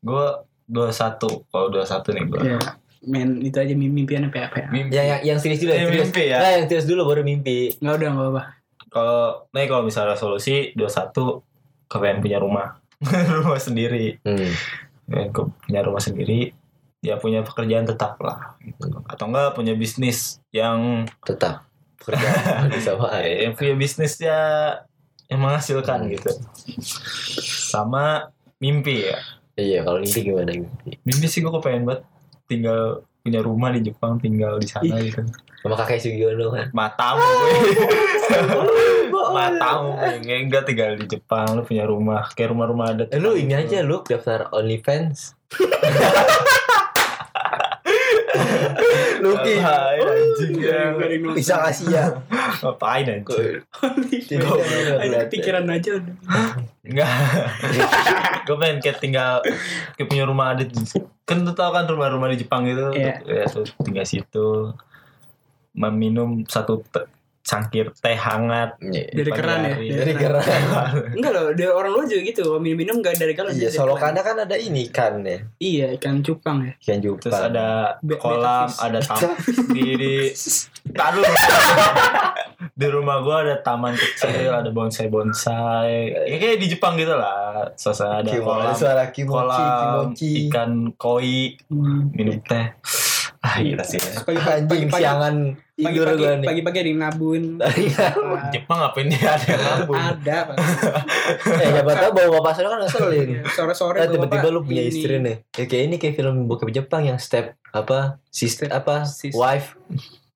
Speaker 2: Gue 21. Kalau 21 nih gue.
Speaker 1: Iya. Men, itu aja mimpi mimpian apa apa ya.
Speaker 2: Mimpi.
Speaker 3: Ya, yang yang serius
Speaker 2: Ini
Speaker 3: dulu. yang serius.
Speaker 2: mimpi ya.
Speaker 3: Nah, yang serius dulu baru mimpi.
Speaker 1: Enggak udah enggak apa-apa.
Speaker 2: Kalau nih kalau misalnya solusi 21 kepengen punya rumah. rumah sendiri.
Speaker 3: Hmm.
Speaker 2: Pengen ke- punya rumah sendiri. Ya punya pekerjaan tetap lah. gitu. Atau enggak punya bisnis yang
Speaker 3: Tetap kerja bersamaan.
Speaker 2: yang punya bisnisnya yang menghasilkan
Speaker 3: Hmm.
Speaker 2: gitu. Sama mimpi ya.
Speaker 3: Iya, kalau mimpi gimana mimpi?
Speaker 2: Mimpi sih gue kepengen banget tinggal punya rumah di Jepang, tinggal di sana gitu.
Speaker 3: Sama kakek Sugiono kan.
Speaker 2: Matamu gue.
Speaker 3: oh,
Speaker 2: Matamu pengen gak tinggal di Jepang, lu punya rumah, kayak rumah-rumah adat.
Speaker 3: Eh, Lu ini aja lu daftar OnlyFans. Luki.
Speaker 2: Ngapain anjing
Speaker 3: iya,
Speaker 1: Iya,
Speaker 2: ya?
Speaker 3: Bisa kasih ya.
Speaker 2: Ngapain anjing?
Speaker 3: Tidak boleh
Speaker 1: Ayo
Speaker 3: berarti.
Speaker 1: kepikiran aja udah.
Speaker 2: Enggak. gue pengen kayak tinggal kayak punya rumah adat. Kan lu tau kan rumah-rumah di Jepang gitu.
Speaker 1: Iya.
Speaker 2: Ya, tuh tinggal situ meminum satu te- cangkir teh hangat.
Speaker 1: Dari
Speaker 2: Pagi
Speaker 1: keran ya.
Speaker 2: hari.
Speaker 3: Dari Iya, gerak. Iya,
Speaker 1: Enggak loh, dari orang luar juga gitu. Kalau Minum-minum enggak dari kalau
Speaker 3: Iya, Solokanda kan ada ini kan ya.
Speaker 1: Iya, ikan cupang ya.
Speaker 3: Ikan jupang.
Speaker 2: Terus ada
Speaker 1: Be-
Speaker 2: kolam,
Speaker 1: metafis.
Speaker 2: ada taman di di Taruh. di rumah gua ada taman kecil, ada bonsai-bonsai. Ya kayak di Jepang gitu lah. Suasana ada
Speaker 3: Kimono,
Speaker 2: kolam,
Speaker 3: suara kimochi,
Speaker 2: kolam
Speaker 3: kimochi.
Speaker 2: ikan koi,
Speaker 1: Hmm.
Speaker 2: minum teh. Ah, gila sih.
Speaker 1: Iya.
Speaker 2: ya.
Speaker 3: Iya. Anjing
Speaker 1: pagi-pagi-
Speaker 3: siangan tidur kan. Eh,
Speaker 1: Pagi-pagi
Speaker 3: gue nih.
Speaker 1: pagi-pagi ada yang nabun. Ah,
Speaker 2: Jepang ngapain dia ada yang ngambung?
Speaker 1: ada Pak.
Speaker 3: Eh, siapa tahu bawa bapak sana kan ngeselin.
Speaker 1: Iya, Sore-sore
Speaker 3: Eh,
Speaker 1: bawa
Speaker 3: tiba-tiba
Speaker 1: Pak
Speaker 3: lu punya
Speaker 1: ini.
Speaker 3: istri nih. Ya, kayak ini kayak film bokep Jepang yang step apa? Sister apa?
Speaker 1: Sis-
Speaker 3: Wife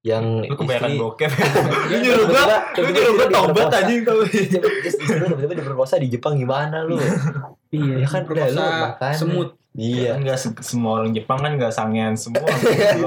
Speaker 3: yang
Speaker 2: Lu kebanyakan
Speaker 3: istri-
Speaker 2: bokep. Lu
Speaker 3: Iya,
Speaker 2: nyuruh gua,
Speaker 3: tiba-tiba-
Speaker 2: lu
Speaker 3: tiba-tiba
Speaker 2: nyuruh gua
Speaker 3: istri
Speaker 2: tobat
Speaker 3: diperkosa.
Speaker 2: anjing tau.
Speaker 3: Tiba-tiba istri lu tiba-tiba diperkosa di Jepang gimana lu?
Speaker 1: Iya,
Speaker 3: Ya kan, udah, lu
Speaker 1: perkosa
Speaker 3: makan.
Speaker 1: semut.
Speaker 2: Iya,
Speaker 3: Iya.
Speaker 2: enggak se- semua orang Jepang kan enggak sangean semua.
Speaker 3: Eh,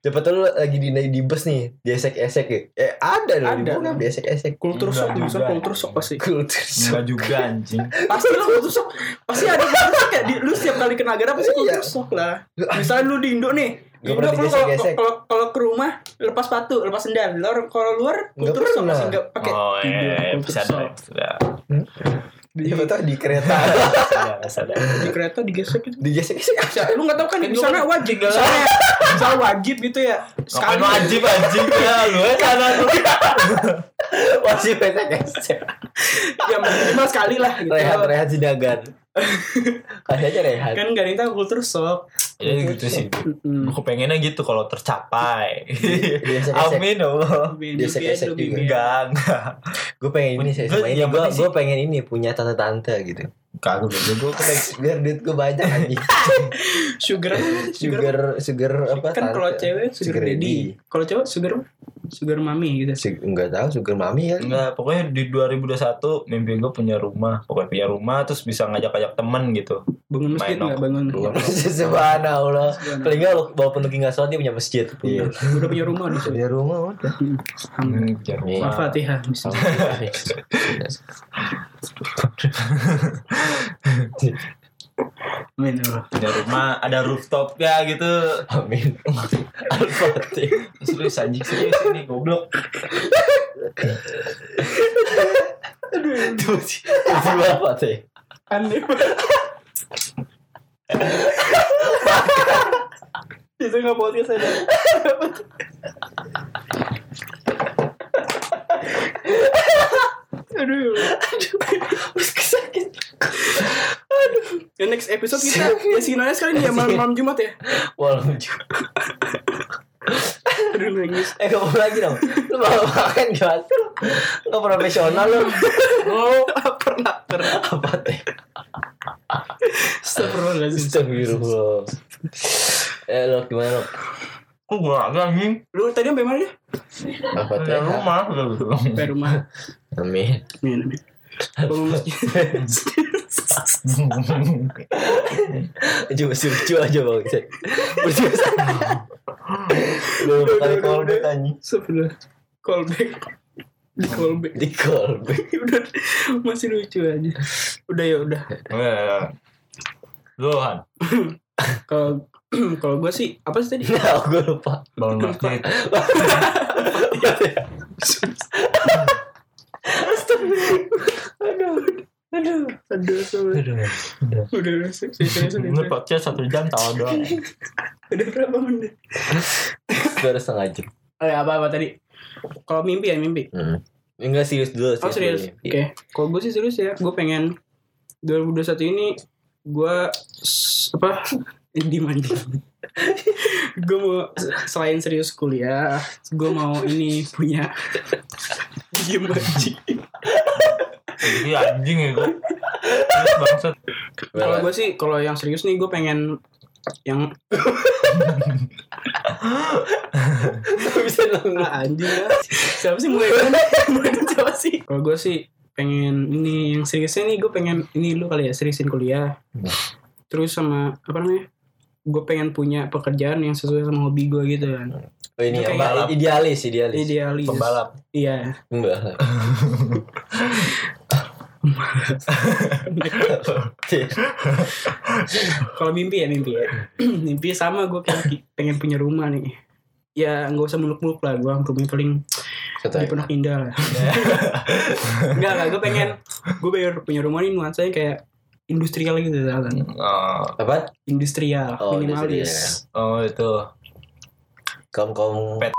Speaker 3: Dapat tahu lu lagi di di bus nih, diesek-esek ya. Eh, ada loh di
Speaker 1: Ada.
Speaker 3: bokep diesek-esek.
Speaker 1: Kultur
Speaker 2: Enggak
Speaker 1: shock,
Speaker 2: juga.
Speaker 1: unsur kultur shock pasti.
Speaker 3: Kultur shock.
Speaker 2: Enggak juga anjing.
Speaker 1: Pasti lah kultur shock. Pasti ada kultur shock ya. Di- Lu setiap kali ke negara pasti kultur
Speaker 3: Iya.
Speaker 1: shock lah. Misalnya lu di Indo nih.
Speaker 3: Gak
Speaker 1: Gak
Speaker 3: pernah
Speaker 1: Indo lu kalau
Speaker 3: digesek-gesek.
Speaker 1: kalau kalau ke rumah lepas sepatu, lepas sendal. Luar- Kalau luar kultur shock
Speaker 3: pernah.
Speaker 1: pasti enggak pakai
Speaker 2: Oh, eh,
Speaker 1: tidur, kultur
Speaker 2: bisa
Speaker 1: shock.
Speaker 2: ada. Bisa
Speaker 1: Di,
Speaker 3: Iya betul di kereta.
Speaker 2: ada, bisa ada.
Speaker 1: di kereta digesek gitu.
Speaker 3: Digesek-gesek.
Speaker 1: Bisa- lu nggak tahu kan di
Speaker 2: Kan gua
Speaker 1: sana
Speaker 2: kan
Speaker 1: wajib
Speaker 2: tinggal-
Speaker 1: misalnya misalnya wajib gitu ya
Speaker 2: Sekali
Speaker 1: sekali
Speaker 2: wajib anjing ya lu ya sana lu.
Speaker 3: Wajib esek-esek.
Speaker 1: ya minimal sekali lah gitu
Speaker 3: Rehat-rehat sidagan. Kasih aja rehat.
Speaker 1: kan nggak ada yang tahu kultur shock
Speaker 2: Ya gitu sih.
Speaker 1: Mm-mm.
Speaker 2: Aku pengennya gitu kalau tercapai.
Speaker 3: Iya. Diesek-esek.
Speaker 2: Amin ya Allah.
Speaker 1: Biar- biar- biar-
Speaker 3: Gesek-gesek juga.
Speaker 1: biar-
Speaker 2: Enggak, enggak.
Speaker 3: Gue pengen ini sih,
Speaker 2: Gua-
Speaker 3: sama ini.
Speaker 2: yang
Speaker 3: Gue
Speaker 2: penting
Speaker 3: gue pengen ini punya tante-tante gitu.
Speaker 2: Kagak gue gue kayak
Speaker 3: Biar duit gue banyak anjing.
Speaker 1: sugar sugar
Speaker 3: Sugar sugar apa?
Speaker 1: kan kalau
Speaker 3: tante.
Speaker 1: cewek sugar
Speaker 3: Sugar
Speaker 1: daddy kalau cowok sugar sugar mami gitu
Speaker 3: Sug- nggak tahu sugar mami kan
Speaker 2: enggak pokoknya di 2021 mimpi gue punya rumah, pokoknya punya rumah terus bisa ngajak-ngajak temen gitu.
Speaker 1: bangun masjid
Speaker 2: Main
Speaker 1: nggak bangun
Speaker 2: Bangun.
Speaker 3: Subhanallah Paling
Speaker 1: Subhanallah.
Speaker 3: nggak lu- walaupun lu nggak sholat dia punya masjid
Speaker 1: Iya. udah punya rumah di sini
Speaker 3: Punya rumah udah
Speaker 1: Alhamdulillah.
Speaker 2: Hmm, Punya rumah.
Speaker 1: Al-Fatihah misalnya. Amin ya Allah.
Speaker 2: Punya rumah, ada rooftopnya gitu.
Speaker 3: Amin Al-Fatih
Speaker 2: Serius anjing serius ini goblok.
Speaker 3: Tuh sih Tuh Al-Fatih
Speaker 1: Aneh banget. Itu nggak podcast ada. Aduh.
Speaker 3: Sakit
Speaker 1: Ya next episode kita ya sinarnya sekali nih ya malam, malam Jumat ya.
Speaker 3: Walau juga
Speaker 1: Aduh nangis.
Speaker 3: Eh kamu lagi dong Lu mau makan gimana sih lu Nggak profesional lu
Speaker 1: Oh, pernah pernah.
Speaker 3: Al-Fatih
Speaker 1: Astagfirullahaladzim.
Speaker 3: Astagfirullah Eh lo gimana lo
Speaker 2: Kok gue agak anjing
Speaker 1: Lu tadi sampai mana ya? Iya.
Speaker 2: punya
Speaker 3: Al-Fatih
Speaker 2: rumah.
Speaker 1: Sampai rumah.
Speaker 3: Amin
Speaker 1: Amin amin. Bangun masjid.
Speaker 3: Coba lucu aja bang Iksan. Berjuang saja. Belum
Speaker 1: Udah,
Speaker 3: kali
Speaker 1: udah,
Speaker 3: call
Speaker 1: udah.
Speaker 3: back anjing.
Speaker 1: Sebenernya callback di callback
Speaker 3: Di call back.
Speaker 1: udah masih lucu aja udah ya udah
Speaker 2: Lu Iya. Han
Speaker 1: kalau kalau gue sih apa sih tadi
Speaker 3: Nah, gue lupa.
Speaker 2: Bangun masjid
Speaker 1: aduh aduh sorry.
Speaker 3: Aduh.
Speaker 1: udah udah sih serius serius,
Speaker 2: Ini
Speaker 1: serius.
Speaker 2: podcast satu jam tawa doang
Speaker 1: udah berapa menit
Speaker 3: Baru setengah jam.
Speaker 1: oh ya, apa apa tadi kalau mimpi ya mimpi
Speaker 3: Hmm. Enggak serius dulu. Iya.
Speaker 1: oh serius oke
Speaker 3: dulu.
Speaker 1: kalau gue sih serius ya gue pengen 2021 ini gue apa di mandi gue mau selain serius kuliah gue mau ini punya diem aja
Speaker 2: Ini anjing ya gue Terus bangsat
Speaker 1: Kalau gue sih, kalau yang serius nih, gue pengen yang
Speaker 3: bisa nangis.
Speaker 1: ah, anjing ya. Siapa sih mulai kan? Mulai dari siapa sih? Kalau gue sih pengen ini yang seriusnya nih, gue pengen ini lu kali ya seriusin kuliah.
Speaker 3: Hmm.
Speaker 1: Terus sama apa namanya? Gue pengen punya pekerjaan yang sesuai sama hobi gue gitu kan.
Speaker 3: Oh ini
Speaker 1: Itu
Speaker 3: yang
Speaker 1: kayak-
Speaker 3: balap. idealis, idealis.
Speaker 1: Idealis.
Speaker 2: Pembalap
Speaker 1: Iya.
Speaker 3: Enggak.
Speaker 1: kalau mimpi ya mimpi ya. mimpi sama gue pengen, pengen punya rumah nih. Ya nggak usah muluk-muluk lah, gue rumahnya paling
Speaker 3: Kata
Speaker 1: di Pondok Indah lah.
Speaker 2: Iya.
Speaker 1: Enggak, enggak. Gue pengen, gue pengen punya rumah ini nuansanya kayak industrial gitu kan.
Speaker 2: Oh,
Speaker 3: apa?
Speaker 1: Industrial,
Speaker 3: Oh,
Speaker 1: minimalis.
Speaker 2: Oh itu
Speaker 3: Kaum kaum
Speaker 2: Pet.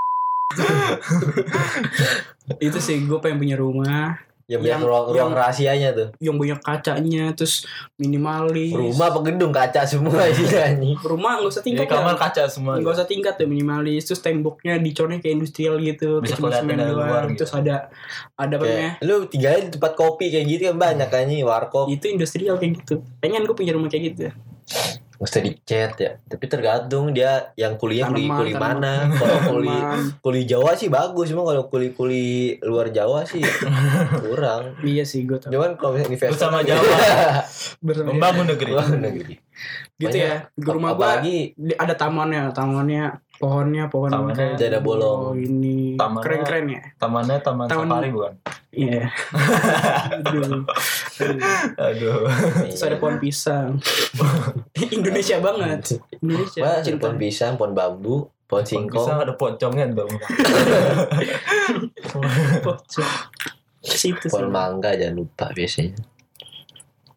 Speaker 1: Itu sih gue pengen punya rumah
Speaker 3: yang
Speaker 1: Yang-
Speaker 3: banyak Ya, ruang, ruang
Speaker 1: yang-
Speaker 3: rahasianya tuh.
Speaker 1: yang banyak kacanya, terus minimalis.
Speaker 3: Rumah apa gedung kaca semua sih anjing.
Speaker 1: Rumah nggak usah
Speaker 2: Ini
Speaker 1: tingkat
Speaker 2: Iya, kamar
Speaker 1: ya.
Speaker 2: kaca semua
Speaker 1: Nggak usah tingkat ya minimalis. Terus temboknya dicornya kayak industrial gitu. kayak
Speaker 2: Bisa
Speaker 1: cuma
Speaker 2: kelihatan
Speaker 1: semen
Speaker 2: dari luar
Speaker 1: doang.
Speaker 2: gitu.
Speaker 1: Terus ada, ada apa namanya?
Speaker 3: Kayak, lu tinggalnya di tempat kopi kayak gitu kan banyak anjing warkop.
Speaker 1: Itu industrial kayak gitu. Pengen gue punya rumah kayak gitu.
Speaker 3: Mesti dicat ya. Tapi tergantung dia yang kuliah kuli
Speaker 1: Tanaman,
Speaker 3: kuli
Speaker 1: tanaman.
Speaker 3: mana.
Speaker 2: Oh,
Speaker 3: Kalau kuli
Speaker 1: Rumah.
Speaker 3: kuli Jawa sih bagus, cuma kalau kuli kuli luar Jawa sih kurang.
Speaker 1: Iya sih gue tau.
Speaker 3: Cuman kalau misalnya investor
Speaker 2: Bersama Jawa
Speaker 1: Bersama-
Speaker 2: Membangun negeri
Speaker 1: Gitu ya. Di rumah gue
Speaker 3: apalagi
Speaker 1: Di- ada tamannya, tamannya, pohonnya, pohon
Speaker 2: Tamannya
Speaker 1: mangga.
Speaker 3: jada
Speaker 1: Oh,
Speaker 3: bolong.
Speaker 1: ini
Speaker 2: Tamannya-
Speaker 1: keren-keren ya.
Speaker 2: Tamannya taman
Speaker 1: Taman-
Speaker 2: safari bukan
Speaker 1: Iya. Aduh. Aduh.
Speaker 2: Aduh
Speaker 1: Terus
Speaker 3: Iya.
Speaker 1: ada pohon pisang. Indonesia banget. Indonesia.
Speaker 3: Wah, ada
Speaker 1: cinta.
Speaker 3: pohon pisang, pohon bambu, pohon
Speaker 2: Bisa
Speaker 3: singkong.
Speaker 2: ada pocongnya dong
Speaker 1: Pojok. Situ sih.
Speaker 3: Pohon mangga jangan lupa biasanya.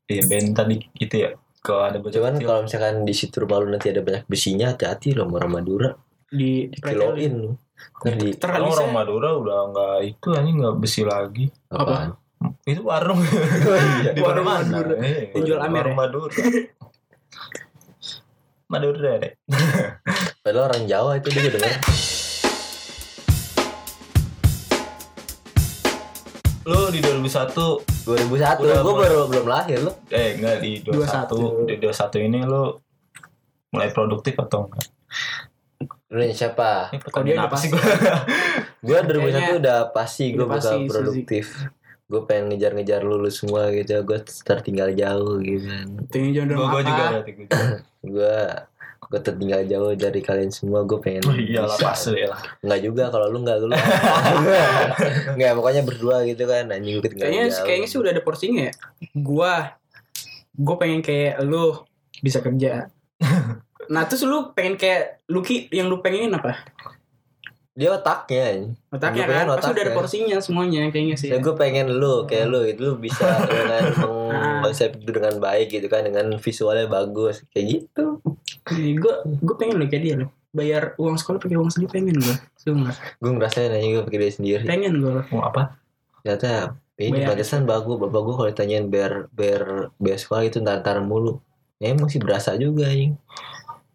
Speaker 2: Iya Ben tadi gitu ya Kalau ada bocah
Speaker 3: Cuman
Speaker 2: kecil.
Speaker 3: kalau misalkan di situ rumah lu nanti ada banyak besinya, hati-hati lo sama orang Madura.
Speaker 1: Di
Speaker 3: Kiloin lu. Ntar di
Speaker 1: Terlalu
Speaker 2: Kalau orang Madura udah nggak itu anjing nggak besi lagi.
Speaker 3: apaan?
Speaker 2: Itu warung.
Speaker 3: Iya.
Speaker 2: Di
Speaker 1: Warung
Speaker 2: mana-mana.
Speaker 1: Madura.
Speaker 2: Iya,
Speaker 1: Yang jual
Speaker 2: warung
Speaker 1: amer ya?
Speaker 2: Madura. Madura ya, deh.
Speaker 3: Padahal orang Jawa itu dia dengar.
Speaker 2: Lu di 2001
Speaker 3: 2001
Speaker 2: Udah,
Speaker 3: gua
Speaker 2: mulai.
Speaker 3: baru belum lahir lu.
Speaker 2: eh enggak di
Speaker 1: 21.
Speaker 2: 21, di 21 ini lu mulai produktif atau enggak?
Speaker 3: Lu yang siapa?
Speaker 2: Ini
Speaker 1: Kalau dia udah
Speaker 2: Eh, pertanyaan apa sih
Speaker 1: pasti.
Speaker 2: gua?
Speaker 3: Gua
Speaker 1: Nah, Kayaknya-
Speaker 3: 2001 udah pasti gua
Speaker 1: Udah pasti,
Speaker 3: bakal
Speaker 1: Suzy.
Speaker 3: produktif. Gue pengen ngejar-ngejar lulus semua gitu, gue tertinggal jauh gitu kan.
Speaker 1: Tinggi jangan dalam
Speaker 2: Gua gua
Speaker 1: apa.
Speaker 2: juga berarti gua. juga.
Speaker 3: Gue gue tertinggal jauh dari kalian semua, gue pengen
Speaker 2: Oh, Iyalah
Speaker 3: bisa.
Speaker 2: pasti lah.
Speaker 3: Enggak juga kalau lu enggak lu. Enggak, pokoknya berdua gitu kan anjing gue ketinggalan.
Speaker 1: Kayaknya,
Speaker 3: jauh.
Speaker 1: kayaknya sih udah ada porsinya ya. Gua, gue pengen kayak lu bisa kerja. Nah terus lu pengen kayak Luki yang lu pengenin apa?
Speaker 3: dia otaknya. anjing.
Speaker 1: Otaknya
Speaker 3: Lu pengen
Speaker 1: kan, pasti
Speaker 3: otaknya.
Speaker 1: udah ada porsinya semuanya kayaknya sih.
Speaker 3: Ya, gue pengen lu kayak lu gitu lu bisa dengan
Speaker 1: Ah.
Speaker 3: mengkonsep itu dengan baik gitu kan dengan visualnya bagus kayak gitu.
Speaker 1: Gue gue pengen loh kayak dia loh. Bayar uang sekolah pakai uang sendiri pengen gue. Sumpah.
Speaker 3: Gue ngerasain aja gue pikir dia sendiri.
Speaker 1: Pengen gue loh.
Speaker 2: Mau apa?
Speaker 3: Ternyata ini
Speaker 1: Bayar.
Speaker 3: batasan bagus bapak gue kalau ditanyain bayar bayar bayar sekolah itu ntar mulu. Ya emang sih berasa juga anjing.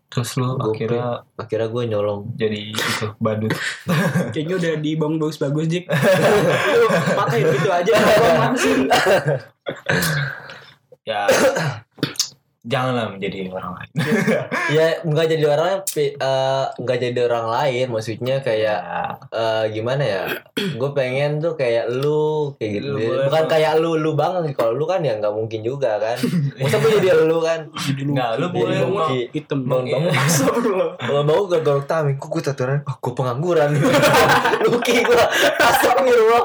Speaker 2: Terus lu
Speaker 3: Gua
Speaker 2: akhirnya
Speaker 3: Akhirnya gue nyolong.
Speaker 2: jadi itu badut.
Speaker 1: Kayaknya udah dibangun bagus-bagus Jik. Lu Pakai gitu aja. Bang, langsung.
Speaker 2: ya janganlah menjadi orang lain.
Speaker 3: ya nggak jadi orang pi- eh, nggak jadi orang lain
Speaker 2: Iya.
Speaker 3: maksudnya kayak eh, gimana ya gue pengen tuh kayak lu kayak gitu
Speaker 2: Lu boleh
Speaker 3: bukan
Speaker 2: dong.
Speaker 3: kayak lu lu banget kalau lu kan ya nggak mungkin juga kan masa gue jadi lu kan
Speaker 1: Jadi
Speaker 2: Nggak, Nah, lu
Speaker 1: Jadi
Speaker 2: boleh,
Speaker 1: bawang
Speaker 3: Ki.
Speaker 1: hitam.
Speaker 3: bang bang
Speaker 1: Iya. Astagfirullah.
Speaker 3: Kalau bau gak gorok tami, kok gue tatuan? Oh, gue pengangguran. Luki gue, astagfirullah.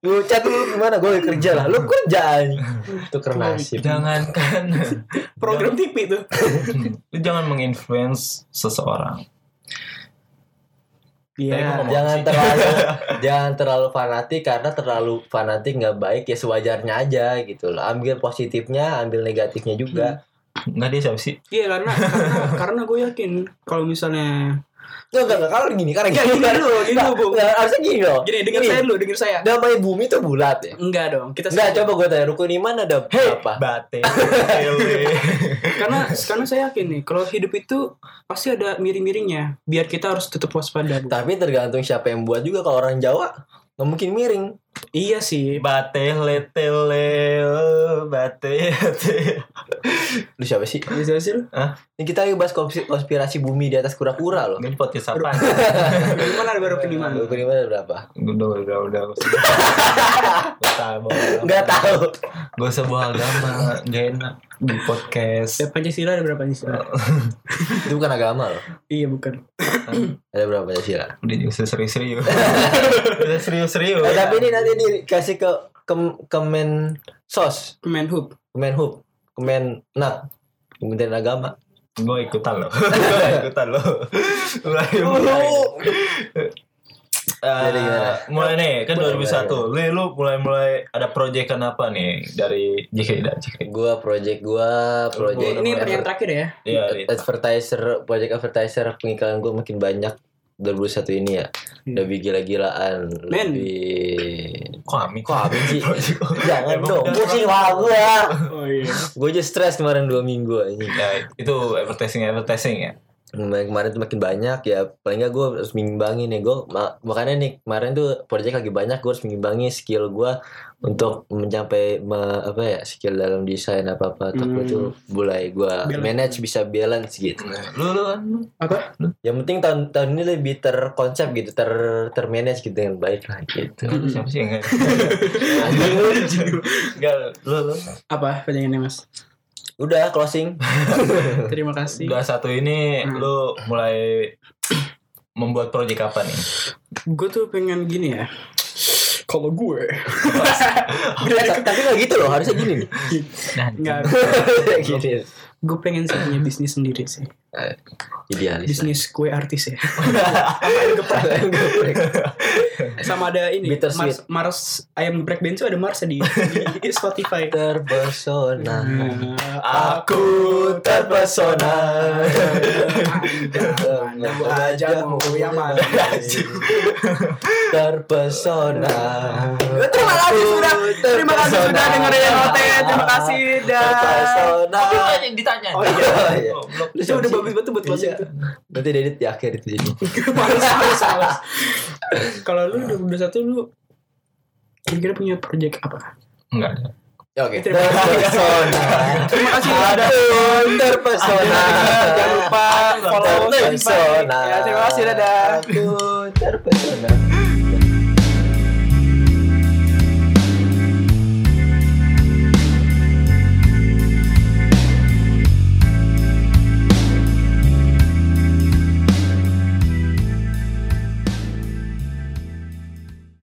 Speaker 3: Lu cat lu gimana? Gue kerja lah. Lu kerja anjing. Itu
Speaker 2: Ya,
Speaker 3: karena nasib.
Speaker 2: jangankan
Speaker 1: Program TV tuh.
Speaker 2: lu jangan menginfluence seseorang. Nah,
Speaker 1: Iya.
Speaker 3: Jangan terlalu jangan terlalu fanatik karena terlalu fanatik nggak baik ya sewajarnya aja gitu loh. Ambil positifnya, ambil negatifnya juga.
Speaker 2: Enggak dia siapa sih?
Speaker 1: Iya karena karena, karena gue yakin kalau misalnya
Speaker 3: Enggak enggak enggak kalau gini, karena gini
Speaker 1: Hmm. Gini dulu, gini
Speaker 3: Nggak,
Speaker 1: dulu, Bung.
Speaker 3: nggak, harusnya gini loh.
Speaker 1: gini dengar
Speaker 3: Gini,
Speaker 1: saya dulu, dengar saya.
Speaker 3: Namanya bumi tuh bulat ya.
Speaker 1: Enggak dong, kita
Speaker 3: Enggak,
Speaker 1: sengaja.
Speaker 3: coba gue tanya rukun iman ada berapa?
Speaker 2: Bate. Lele.
Speaker 1: karena karena saya yakin nih kalau hidup itu pasti ada miring-miringnya. Biar kita harus tetap waspada. Bu.
Speaker 3: Tapi tergantung siapa yang buat juga kalau orang Jawa nggak mungkin miring.
Speaker 1: Iya sih.
Speaker 2: Bate letele bate. bate.
Speaker 3: Lu siapa sih?
Speaker 1: Bisa sih lu.
Speaker 2: Hah?
Speaker 3: Ini kita lagi bahas konspirasi, konspirasi bumi di atas kura-kura loh.
Speaker 2: Ini podcast apaan?
Speaker 1: Gimana ada baru keniman?
Speaker 3: Lu kira ada berapa?
Speaker 2: udah udah udah gak tahu
Speaker 3: Enggak tahu.
Speaker 2: gak usah bawa agama gak enak di podcast
Speaker 1: Ya Pancasila ada berapa Pancasila?
Speaker 3: Itu bukan agama loh.
Speaker 1: iya bukan.
Speaker 3: Ada berapa Pancasila?
Speaker 2: udah gak usah serius-serius udah serius-serius
Speaker 3: Eh, tapi ini nanti dikasih ke ke Kemen Sos,
Speaker 1: Kemenhub.
Speaker 3: Kemenhub, Kemenak, Kementerian Agama.
Speaker 2: gue ikutan loh gue ikutan loh mulai mulai Eh,
Speaker 3: Oh, Jadi gimana?
Speaker 2: mulai nih kan
Speaker 3: Boleh,
Speaker 2: 2001 lu lu mulai mulai ada proyekan apa nih dari JK dan JK
Speaker 3: Gua project gua project
Speaker 1: Ini yang terakhir ya.
Speaker 2: ya
Speaker 3: Eh, advertiser project advertiser pengiklan gue makin banyak 2021 ini ya
Speaker 1: Hmm.
Speaker 3: lebih gila-gilaan
Speaker 1: Men.
Speaker 3: lebih
Speaker 2: kami
Speaker 3: kok habis sih jangan
Speaker 2: Emang
Speaker 3: dong
Speaker 2: udah
Speaker 3: pusing lah gue
Speaker 1: Oh iya.
Speaker 3: gue aja stres kemarin dua minggu aja
Speaker 2: ya itu advertising advertising ya
Speaker 3: kemarin, kemarin tuh makin banyak ya paling nggak gue harus mengimbangin nih gue makanya nih kemarin tuh project lagi banyak gue harus mengimbangi skill gue untuk mencapai me- apa ya skill dalam desain apa apa tapi
Speaker 1: Hmm.
Speaker 3: itu mulai gue
Speaker 1: Balance.
Speaker 3: manage bisa balance gitu
Speaker 2: lu lu kan
Speaker 1: Apa?
Speaker 3: yang penting tahun tahun ini lebih terkonsep gitu ter termanage gitu dengan baik lah gitu
Speaker 2: lu siapa sih yang
Speaker 3: Anjing lu.
Speaker 2: Enggak, lu, lu.
Speaker 1: Apa pertanyaannya Mas?
Speaker 3: udah closing
Speaker 1: Terima kasih.
Speaker 2: Udah satu ini
Speaker 1: Hmm.
Speaker 2: lu mulai membuat proyek apa nih?
Speaker 1: Gue tuh pengen gini ya. Kalau gue
Speaker 3: Ta- tapi nggak gitu loh harusnya gini nih
Speaker 1: nggak,
Speaker 3: gini
Speaker 1: gue pengen sih punya bisnis sendiri sih.
Speaker 3: Nah, idealis lah.
Speaker 1: Bisnis kue artis ya.
Speaker 3: Geprek.
Speaker 1: Sama ada ini Mars,
Speaker 3: Bittersweet.
Speaker 1: Mars ayam geprek bensu ada Mars ya di, di Spotify.
Speaker 3: terpesona
Speaker 1: Nah,
Speaker 2: Aku terpesona.
Speaker 1: Anda wajahmu yang manis.
Speaker 3: terpesona
Speaker 1: Terima kasih sudah. Terima kasih sudah dengerin OT. Terima kasih dan.
Speaker 3: terpesona
Speaker 2: ditanya.
Speaker 1: Oh iya.
Speaker 3: Oh, iya.
Speaker 1: Itu udah bagus banget tuh buat closing
Speaker 3: Iya.
Speaker 1: tuh.
Speaker 3: nanti dedit di akhir itu jadi
Speaker 1: Males, males, males. Kalau lu udah udah satu lu kira-kira punya project apa?
Speaker 2: Enggak ada.
Speaker 3: Ya, oke
Speaker 1: Terima kasih.
Speaker 3: terpesona
Speaker 1: Terima kasih sudah.
Speaker 3: Adun terpesona
Speaker 1: Jangan lupa follow Spotify.
Speaker 3: terpesona
Speaker 1: Ya, terima kasih dadah.
Speaker 3: Aku terpesona